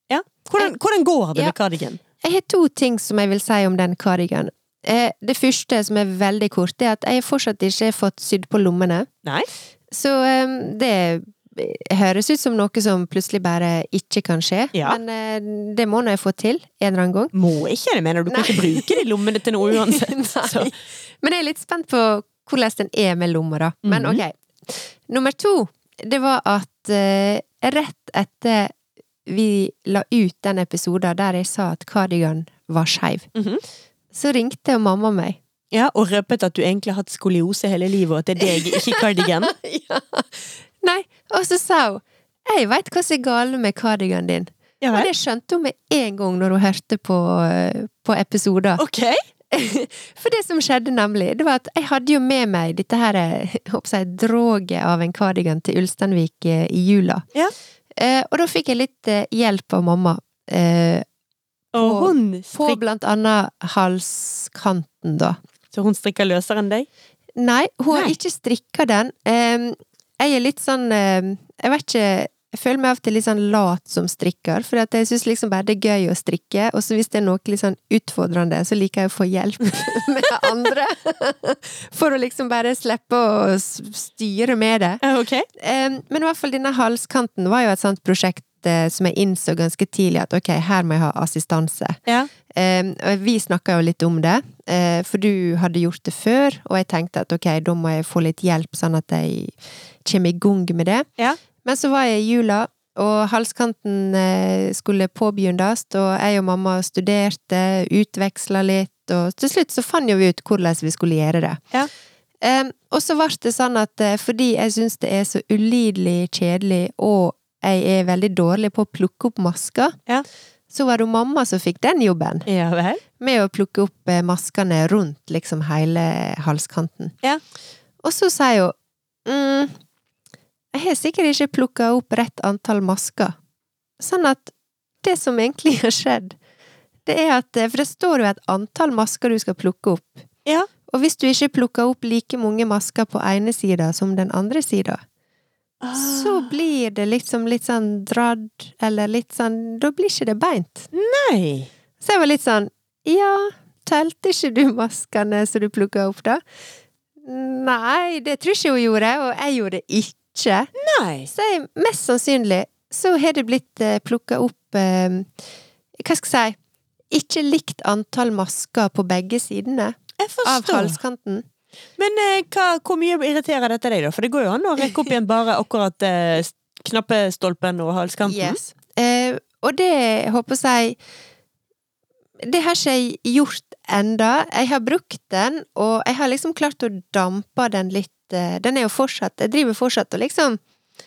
Ja. Hvordan, hvordan går det
Ja.
med cardigan?
Jeg har to ting som jeg vil si om den cardigan. Eh, Det første, som er veldig kort, det er at jeg fortsatt ikke har fått sydd på lommene.
Nei.
Så eh, det høres ut som noe som plutselig bare ikke kan skje.
Ja.
Men eh, det må nå jeg få til, en eller annen gang.
Må ikke, jeg mener du kan
Nei.
ikke bruke de lommene til noe uansett. Så.
Nei. Men jeg er litt spent på hvordan den er med lomma, da. Men
Mhm.
ok. Nummer to, det var at eh, rett etter vi la ut den episoden der jeg sa at kardigan var skeiv,
Mhm.
så ringte mamma meg.
Ja, og røpet at du egentlig har hatt skoliose hele livet, og at det er deg, ikke cardigan.
ja. Nei, og så sa hun jeg veit hva som er galt med kardiganen din.
Ja,
Og
vel.
det skjønte hun med en gang når hun hørte på, eh, på episoder.
Ok.
For det som skjedde nemlig, det var at jeg hadde jo med meg dette her eh, håper jeg, droget av en kardigan til Ulsteinvik eh, i jula.
Ja.
Eh, og da fikk jeg litt eh, hjelp av mamma. Eh,
Og
På-
hun,
på
strik,
blant annet halskanten, da.
så hun strikker løsere enn deg?
Nei, hun har
Nei.
ikke strikka den. Eh, jeg er litt sånn eh, Jeg vet ikke jeg føler meg av og til litt sånn lat som strikker, for at jeg syns liksom bare det er gøy å strikke. Og så hvis det er noe litt sånn utfordrende, så liker jeg å få hjelp med andre. For å liksom bare slippe å s- styre med det.
Eh, Ok.
Eh, Men i hvert fall denne halskanten var jo et sånt prosjekt eh, som jeg innså ganske tidlig at ok, her må jeg ha assistanse.
Ja.
Eh, og vi snakka jo litt om det, eh, for du hadde gjort det før, og jeg tenkte at ok, da må jeg få litt hjelp, sånn at jeg kommer i gang med det.
Ja.
Men så var jeg i jula, og halskanten eh, skulle påbegynnes, og jeg og mamma studerte, utveksla litt, og til slutt så fant jo vi ut hvordan vi skulle gjøre det.
Ja.
Eh, og så ble det sånn at eh, fordi jeg syns det er så ulidelig kjedelig, og jeg er veldig dårlig på å plukke opp masker,
Ja.
så var det jo mamma som fikk den jobben
Ja vel.
med å plukke opp eh, maskene rundt liksom hele halskanten.
Ja.
Og så sier hun mm, Jeg har sikkert ikke plukka opp rett antall masker. Sånn at det som egentlig har skjedd, det er at eh, For det står jo et antall masker du skal plukke opp.
Ja.
Og hvis du ikke plukker opp like mange masker på ene sida som den andre sida, så
Ah.
blir det liksom litt sånn dradd, eller litt sånn Da blir ikke det beint.
Nei.
Så jeg var litt sånn Ja, telte ikke du maskene som du plukka opp, da? Nei, det tror ikke hun gjorde, og jeg gjorde ikke.
Nei.
Så jeg, mest sannsynlig så har det blitt eh, plukka opp eh, Hva skal jeg si Ikke likt antall masker på begge sidene
Jeg
av
forstår.
halskanten.
Men eh, hva, hvor mye irriterer dette deg, da? For det går jo an å rekke opp igjen bare akkurat eh, s- knappestolpen og halskanten.
Yes. Eh, og det håper jeg Det har ikke jeg gjort enda. Jeg har brukt den, og jeg har liksom klart å dampe den litt. eh, Den er jo fortsatt Jeg driver fortsatt og liksom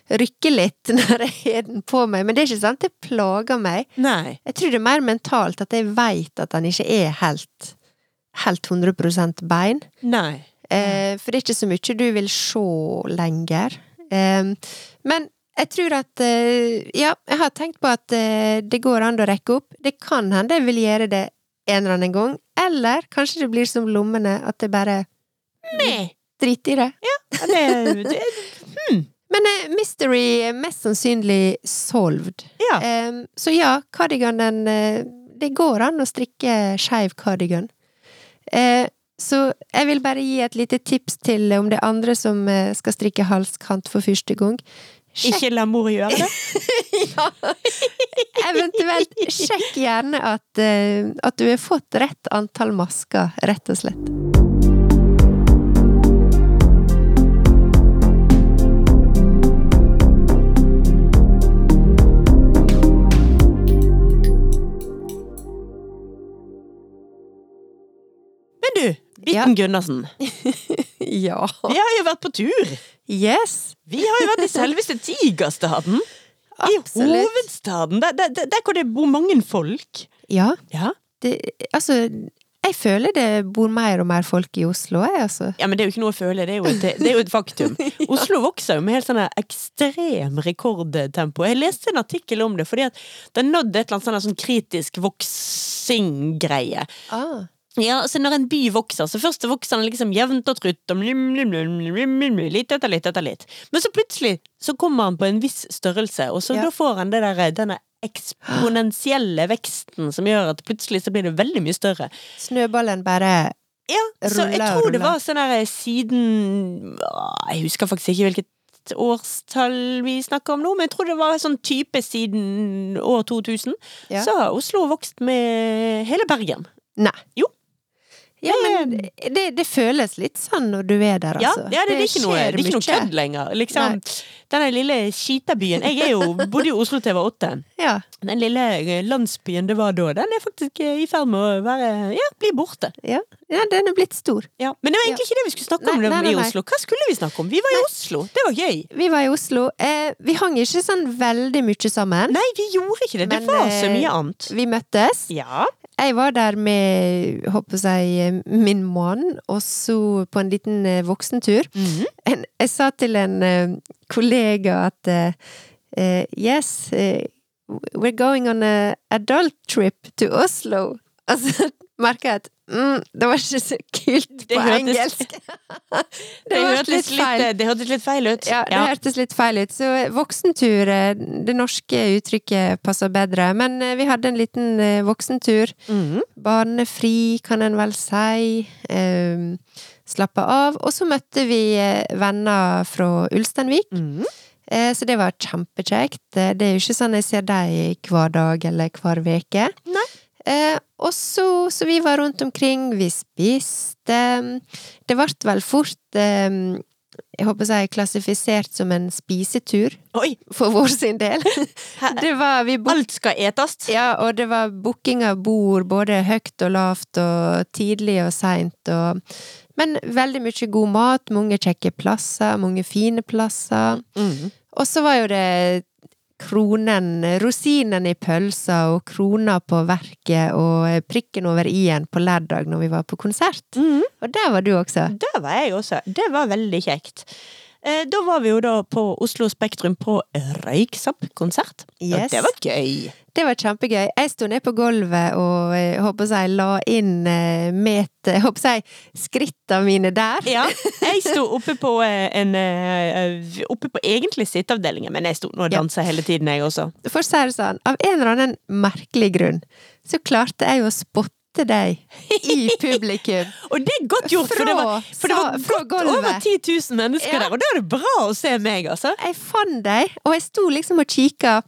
rykker litt når jeg har den på meg, men det er ikke sant, det plager meg.
Nei.
Jeg tror det er mer mentalt at jeg veit at den ikke er helt Helt 100 bein.
Nei.
Eh, for det er ikke så mye du vil se lenger. Eh, men jeg tror at eh, Ja, jeg har tenkt på at eh, det går an å rekke opp. Det kan hende jeg vil gjøre det en eller annen gang. Eller kanskje det blir som lommene, at det bare
Nei.
driter i det.
Ja, det, det,
Men eh, mystery er mest sannsynlig solved.
ja.
Eh, så ja, cardiganen eh, det går an å strikke skeiv cardigan. Eh, så jeg vil bare gi et lite tips til om det er andre som eh, skal strikke halskant for første gang. Sjekk,
Ikke la mor gjøre det.
eventuelt sjekk gjerne at, eh, at du har fått rett antall masker, rett og slett.
Men du, Bitten Gundersen.
Ja.
Vi har jo vært på tur!
Yes!
Vi har jo vært i selveste Tigerstaden. I
Absolutt.
hovedstaden. Der, der, der, der hvor det bor mange folk.
Ja,
Ja.
det, altså Jeg føler det bor mer og mer folk i Oslo, jeg, altså.
ja, men det er jo ikke noe å føle. Det er jo et, det er jo et faktum. Oslo vokser jo med helt sånn her ekstrem rekordtempo. Jeg leste en artikkel om det, fordi at det nådde et eller annet sånn her sånn kritisk voksing-greie.
Ah.
Ja, så når en by vokser, så først så vokser den liksom jevnt og trutt, og mlim, mlim, mlim, mlim, mlim, mlim, litt etter litt etter litt. Men så plutselig så kommer han på en viss størrelse, og så
Ja.
da får han det der, denne eksponentielle veksten som gjør at plutselig så blir det veldig mye større.
Snøballen bare
Ja, så jeg
Rulla og
tror det
rulla.
var sånn der siden Åh, Jeg husker faktisk ikke hvilket årstall vi snakker om nå, men jeg tror det var sånn type siden år 2000.
Ja.
Så har Oslo vokst med hele Bergen.
Nei.
Jo.
Ja,
Det-
men det, det føles litt sånn når du er der,
Ja,
altså.
ja det, er ikke noe, det
skjer
er ikke noe
mye.
kødd lenger. Liksom, denne lille skiterbyen Jeg er jo, bodde jo i Oslo til jeg var åtte.
Ja.
Den lille eh, landsbyen det var da, den er faktisk eh, i ferd med å være Ja, bli borte.
Ja. ja, den er blitt stor.
Ja. Men det var egentlig ikke det vi skulle snakke om
Nei,
når vi
nei,
var
nei,
i
nei.
Oslo. Hva skulle vi snakke om? Vi var i Oslo. Det var gøy.
Vi var i Oslo. Eh, vi hang ikke sånn veldig mye sammen.
Nei, vi gjorde ikke det. Det
Men,
var så
eh,
mye annet.
Vi møttes.
Ja.
Jeg var der med, håper jeg, eh, min mann, og så på en liten eh, voksentur.
Mhm.
en, jeg sa til en eh, kollega at eh, eh, Yes, eh, we're going on a adult trip to Oslo. Og så merka jeg at mm, det var ikke så kult
Det
på
hørtes-
engelsk.
Det,
var
hørtes litt, eh, det hørtes litt feil ut.
Ja, det hørtes litt feil ut. Så voksentur, eh, det norske uttrykket passer bedre. Men eh, vi hadde en liten eh, voksentur.
Mhm.
Barnefri, kan en vel si. Eh, slappe av. Og så møtte vi eh, venner fra Ulsteinvik,
Mhm.
eh, så det var kjempekjekt. Eh, Det er jo ikke sånn jeg ser dem hver dag eller hver uke.
Nei.
Eh, og så, så vi var rundt omkring, vi spiste. Det ble vel fort eh, Jeg håper å si klassifisert som en spisetur,
Oi!
for vår sin del.
Hæ?
Det var, vi
Alt skal etes.
ja, og det var booking av bord, både høyt og lavt, og tidlig og seint, og Men veldig mye god mat, mange kjekke plasser, mange fine plasser.
Mhm.
Og så var jo det kronen, rosinen i pølsa, og krona på verket, og prikken over i-en på lørdag når vi var på konsert.
Mhm.
Og der var du også.
Der var jeg også. Det var veldig kjekt. Eh, Da var vi jo da på Oslo Spektrum på Røyksopp-konsert. Og
Yes.
det var gøy.
Det var kjempegøy. Jeg sto ned på gulvet og eh, håper jeg la inn eh, meter, håper jeg skritta mine der.
Ja, jeg sto oppe på eh, en eh, Oppe på egentlig sitteavdelingen, men jeg sto nå og
Ja.
dansa hele tiden, jeg også.
For å si det sånn, av en eller annen merkelig grunn, så klarte jeg å spotte deg i publikum.
Og det er godt gjort, for det var,
Fra-
for det var
sa- fra
godt
gulvet.
over 10 000 mennesker
Ja.
der, og da er det bra å se meg, altså.
Jeg fant deg, og jeg sto liksom og kikka.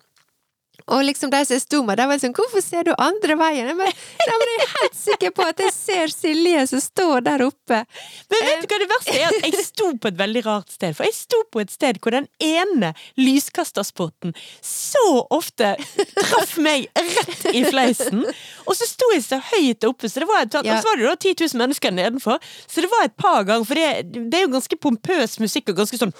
Og liksom de som jeg sto med, de var sånn 'Hvorfor ser du andre veien?' Jeg bare, Nei, men jeg er helt sikker på at jeg ser Silje som står der oppe.
Men
Eh,
vet du hva det verste er? At jeg sto på et veldig rart sted. For jeg sto på et sted hvor den ene lyskasterspotten så ofte traff meg rett i fleisen. Og så sto jeg så høyt oppe, så det var et, og
Ja.
så var det da 10 000 mennesker nedenfor. Så det var et par ganger, for det, det er jo ganske pompøs musikk og ganske sånn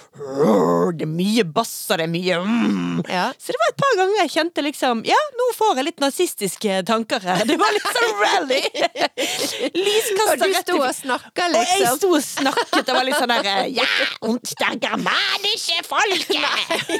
Det er mye bass og det er mye mm.
Ja.
Så det var et par ganger jeg kjente liksom Ja, nå får jeg litt narsistiske tanker her. Det var litt sånn rally!
Og
Lyskaster
du
rett
sto
i
og snakka,
og jeg
liksom.
sto og snakket og var eh, litt sånn der Ja, und der germanische folket!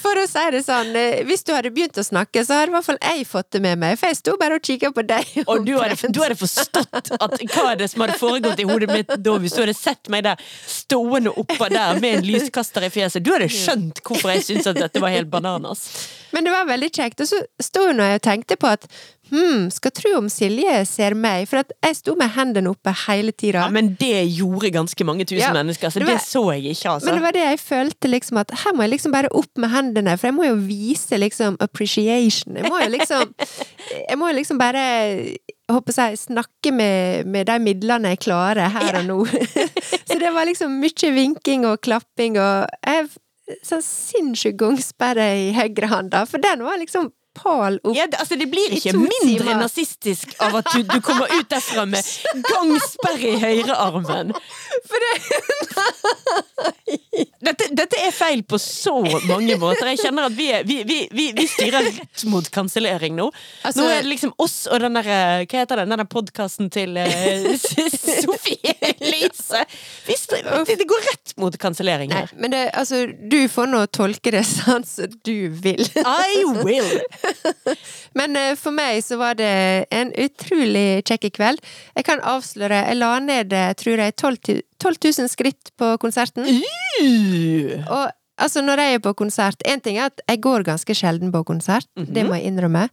For å si det sånn, eh, hvis du hadde begynt å snakke, så hadde i hvert fall jeg fått det med meg, for jeg sto bare og kikket på deg.
Og du hadde, du hadde forstått at hva er det som hadde foregått i hodet mitt da, hvis du hadde sett meg der stående oppå der med en lyskaster i fjeset. Du hadde skjønt hvorfor jeg syntes at dette var helt bananas.
Men det var veldig kjekt, og så sto hun og jeg tenkte på at hm, skal tro om Silje ser meg, for at jeg sto med hendene oppe hele tida.
Ja, men det gjorde ganske mange tusen
Ja,
mennesker, så
det
det,
var-
så jeg ikke, altså.
Men det var det jeg følte, liksom, at her må jeg liksom bare opp med hendene, for jeg må jo vise liksom appreciation. Jeg må jo liksom, jeg må jo liksom bare jeg håper jeg, snakke med, med de midlene jeg klarer her og nå. Så det var liksom mye vinking og klapping og jeg, Sånn sinnssyk gangsperre i høyre hånd, da, for den var liksom pal opp.
Ja, det, altså, det blir
I
ikke
to
mindre
timer.
nazistisk av at du, du kommer ut derfra med gangsperre i høyrearmen.
For det,
Dette, dette er feil på så mange måter. Jeg kjenner at vi, er, vi, vi, vi, vi styrer rett mot kansellering nå.
Altså-
nå er det liksom oss og den der eh, Hva heter den, den der podkasten til eh, Sofie Elise? Vi styr, det, det går rett mot kansellering
nei,
her.
men det, altså, du får nå tolke det sånn som du vil.
I will!
Men eh, for meg så var det en utrolig kjekk kveld. Jeg kan avsløre, jeg la ned eh, tror jeg 12 tu- 12 000 skritt på konserten.
Uh.
Og altså, når jeg er på konsert En ting er at jeg går ganske sjelden på konsert, det må jeg innrømme.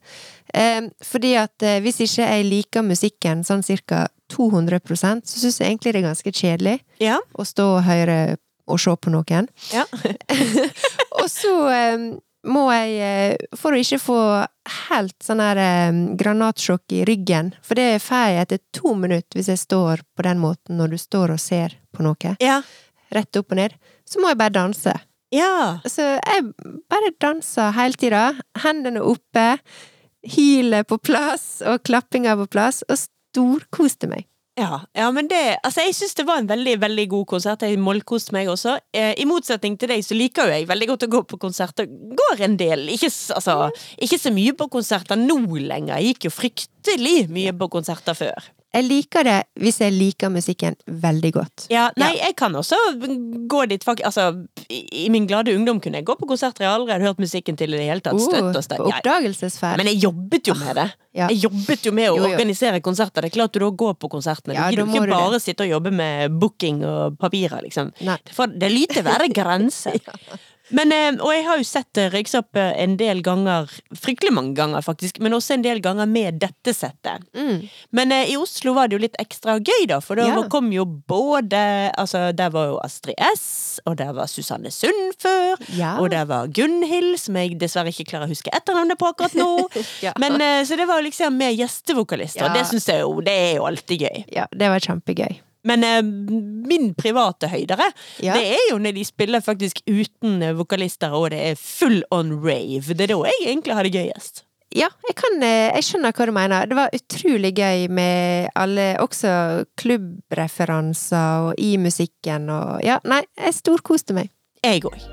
Em, fordi at eh, hvis ikke jeg liker musikken sånn cirka 200 så syns jeg egentlig det er ganske kjedelig
Ja.
å stå og høre og se på noen.
ja.
Og så eh, må jeg, eh, for å ikke få helt sånn her eh, granatsjokk i ryggen, for det får jeg etter to minutter hvis jeg står på den måten når du står og ser på noe,
Ja.
rett opp og ned, så må jeg bare danse.
ja.
Så jeg bare danser hele tida, hendene oppe, hylet på plass og klappinga på plass, og storkoste meg.
Ja, ja, men det Altså, jeg syns det var en veldig, veldig god konsert. Jeg målkoste meg også. Eh, I motsetning til deg, så liker jo jeg veldig godt å gå på konserter. Går en del. Ikke, s- altså, ikke så mye på konserter nå lenger. Jeg gikk jo fryktelig mye på konserter før.
Jeg liker det hvis jeg liker musikken veldig godt.
Ja, nei, jeg kan også gå dit fak- Altså, i i min glade ungdom kunne jeg gå på konserter jeg aldri hadde hørt musikken til i det hele tatt. Støtt og støtt.
Oh,
Ja,
oppdagelsesferd.
men jeg jobbet jo med det.
Ah, Ja.
Jeg jobbet jo med å
Jo, jo.
organisere konserter. Det er klart du da går på konsertene.
Ja,
du
da
kan
må
ikke
du
bare sitte og jobbe med booking og papirer, liksom.
Nei.
Det får- det lyter være grenser. Men, eh, og jeg har jo sett det røykes opp eh, en del ganger, fryktelig mange ganger faktisk, men også en del ganger med dette settet.
Mm.
Men eh, i Oslo var det jo litt ekstra gøy, da, for da
Ja.
kom jo både Altså, der var jo Astrid S, og der var Susanne Sund før,
Ja.
og der var Gunhild, som jeg dessverre ikke klarer å huske etternavnet på akkurat nå.
Ja.
Men, eh, så det var liksom med gjestevokalister, og
Ja.
det syns jeg jo, det er jo alltid gøy.
Ja, det var kjempegøy.
Men eh, min private høydere,
Ja.
det er jo når de spiller faktisk uten eh, vokalister, og det er full on rave. Det er da jeg egentlig har det gøyest.
Ja, jeg, kan, eh, jeg skjønner hva du mener. Det var utrolig gøy med alle, også klubbreferanser og i musikken og Ja, nei, jeg storkoste meg.
Jeg òg.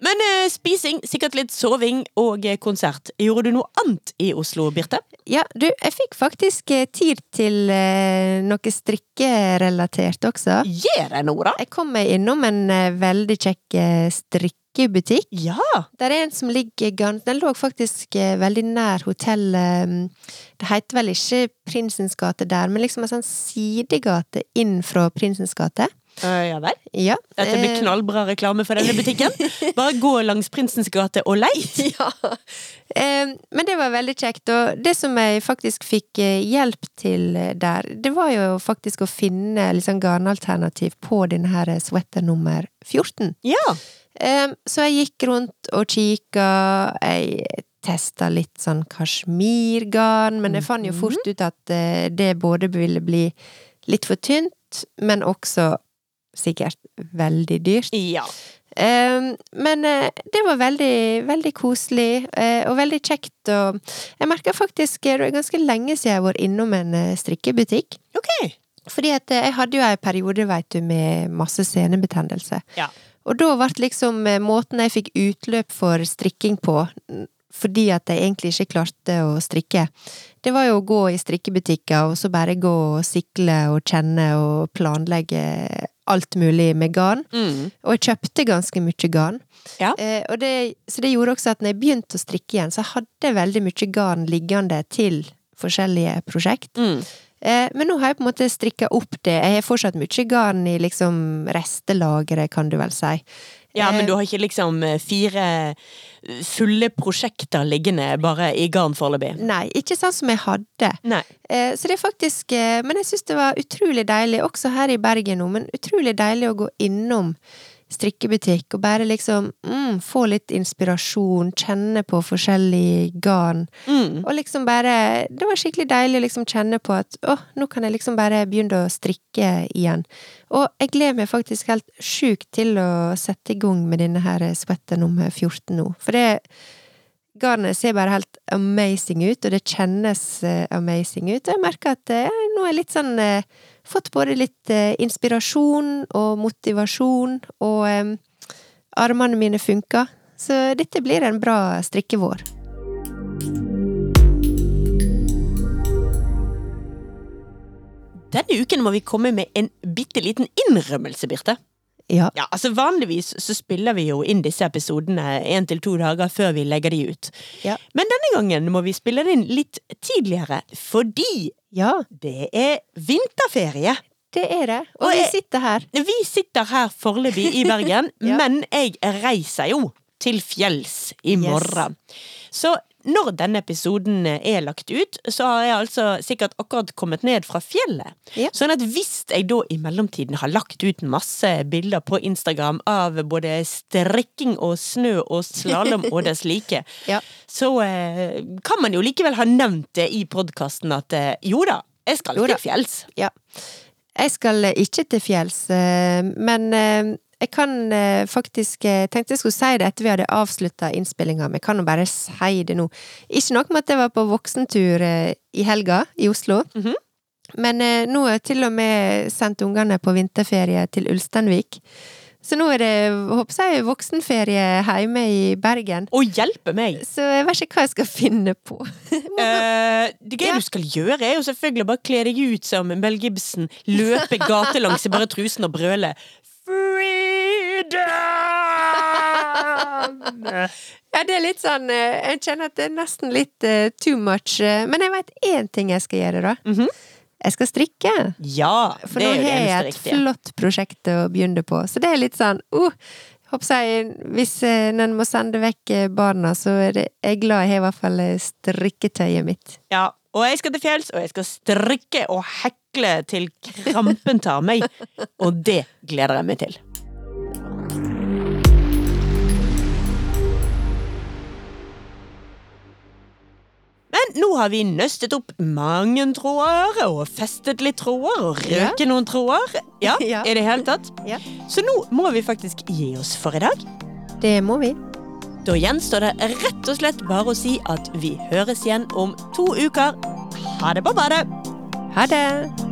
Men eh, spising, sikkert litt soving og eh, konsert. Gjorde du noe annet i Oslo, Birte?
Ja, du, jeg fikk faktisk eh, tid til eh, noe strikkerelatert også.
Gi deg nå, da!
Jeg kom meg innom en eh, veldig kjekk eh, strikkebutikk.
Ja!
Der er en som ligger gan- Den lå faktisk eh, veldig nær hotellet mm, Det heter vel ikke Prinsens gate der, men liksom en sånn sidegate inn fra Prinsens gate.
Eh, ja vel.
Ja.
Dette blir
eh,
knallbra reklame for denne butikken. Bare gå langs Prinsens gate og leit.
Ja. Eh, Men det var veldig kjekt, og det som jeg faktisk fikk eh, hjelp til eh, der, det var jo faktisk å finne liksom garnalternativ på denne her eh, sweater nummer 14.
Ja.
Eh, Så jeg gikk rundt og kikka, jeg testa litt sånn kasjmirgarn, men jeg fant jo fort ut at eh, det både ville bli litt for tynt, men også sikkert veldig dyrt.
Ja.
Ehm, men eh, det var veldig, veldig koselig, eh, og veldig kjekt. Og jeg merker faktisk eh, det er ganske lenge siden jeg var innom en eh, strikkebutikk.
Ok.
Fordi at eh, jeg hadde jo en periode, vet du, med masse senebetennelse.
Ja.
Og da ble liksom eh, måten jeg fikk utløp for strikking på, n- fordi at jeg egentlig ikke klarte å strikke. Det var jo å gå i strikkebutikker, og så bare gå og sikle og kjenne og planlegge alt mulig med garn.
Mm.
Og jeg kjøpte ganske mye garn.
Ja.
Eh, og det, så det gjorde også at når jeg begynte å strikke igjen, så hadde jeg veldig mye garn liggende til forskjellige prosjekt.
Mm.
Eh, men nå har jeg på en måte strikka opp det. Jeg har fortsatt mye garn i liksom restelageret, kan du vel si.
Ja, men
Eh,
du har ikke liksom eh, fire eh, fulle prosjekter liggende bare i garn foreløpig?
Nei, ikke sånn som jeg hadde.
Nei.
Eh, så det er faktisk eh, Men jeg syns det var utrolig deilig, også her i Bergen nå, men utrolig deilig å gå innom strikkebutikk og bare liksom mm, få litt inspirasjon, kjenne på forskjellig garn.
Mm.
Og liksom bare Det var skikkelig deilig å liksom kjenne på at åh, nå kan jeg liksom bare begynne å strikke igjen. Og jeg gleder meg faktisk helt sjukt til å sette i gang med denne her sweater nummer 14 nå. For det garnet ser bare helt amazing ut, og det kjennes eh, amazing ut. Og jeg merker at eh, nå er jeg litt sånn eh, Fått både litt eh, inspirasjon og motivasjon, og eh, armene mine funker. Så dette blir en bra strikkevår.
Denne uken må vi komme med en bitte liten innrømmelse, Birte.
Ja.
Ja, altså Vanligvis så spiller vi jo inn disse episodene én til to dager før vi legger de ut.
Ja.
Men denne gangen må vi spille det inn litt tidligere, fordi
ja.
det er vinterferie.
Det er det. Og,
Og
vi
jeg-
sitter her.
Vi sitter her foreløpig i Bergen,
Ja.
men jeg reiser jo til fjells i
Yes.
morgen. Så når denne episoden er lagt ut, så har jeg altså sikkert akkurat kommet ned fra fjellet.
Ja.
Sånn at hvis jeg da i mellomtiden har lagt ut masse bilder på Instagram av både strikking og snø og slalåm og dess like,
Ja.
så eh, kan man jo likevel ha nevnt det i podkasten at eh, jo da, jeg skal
Jo da.
til fjells.
ja. Jeg skal eh, ikke til fjells, eh, men eh, jeg kan eh, faktisk eh, Tenkte jeg skulle si det etter vi hadde avslutta innspillinga, men jeg kan jo bare si det nå. Ikke nok med at jeg var på voksentur eh, i helga i Oslo.
Mhm.
Men eh, nå har jeg til og med sendt ungene på vinterferie til Ulsteinvik. Så nå er det håper jeg, voksenferie hjemme i Bergen.
Og hjelpe meg!
Så jeg vet ikke hva jeg skal finne på.
Eh, det gøy
Ja.
du skal gjøre, er jo selvfølgelig å bare kle deg ut som Mel Gibson, løpe gatelangs i bare trusen og brøle Freedom!
Ja, det er litt sånn eh, Jeg kjenner at det er nesten litt eh, too much. eh, Men jeg vet én ting jeg skal gjøre, da.
Mhm.
Jeg skal strikke.
Ja,
For
det
nå
er jo det
har jeg
eneste
et
riktige.
flott prosjekt å begynne på. Så det er litt sånn uh, Håper jeg Hvis eh, en må sende vekk eh, barna, så er det, jeg er glad jeg har i hvert fall eh, strikketøyet mitt.
Ja, og jeg skal til fjells, og jeg skal strikke og hekle til krampen tar meg. Og det gleder jeg meg til. Men nå har vi nøstet opp mange tråder, og festet litt tråder, og
Ja.
røket noen tråder. Ja,
Ja.
i det hele tatt.
Ja.
Så nå må vi faktisk gi oss for i dag.
Det må vi.
Da gjenstår det rett og slett bare å si at vi høres igjen om to uker. Ha det på badet!
Ha det!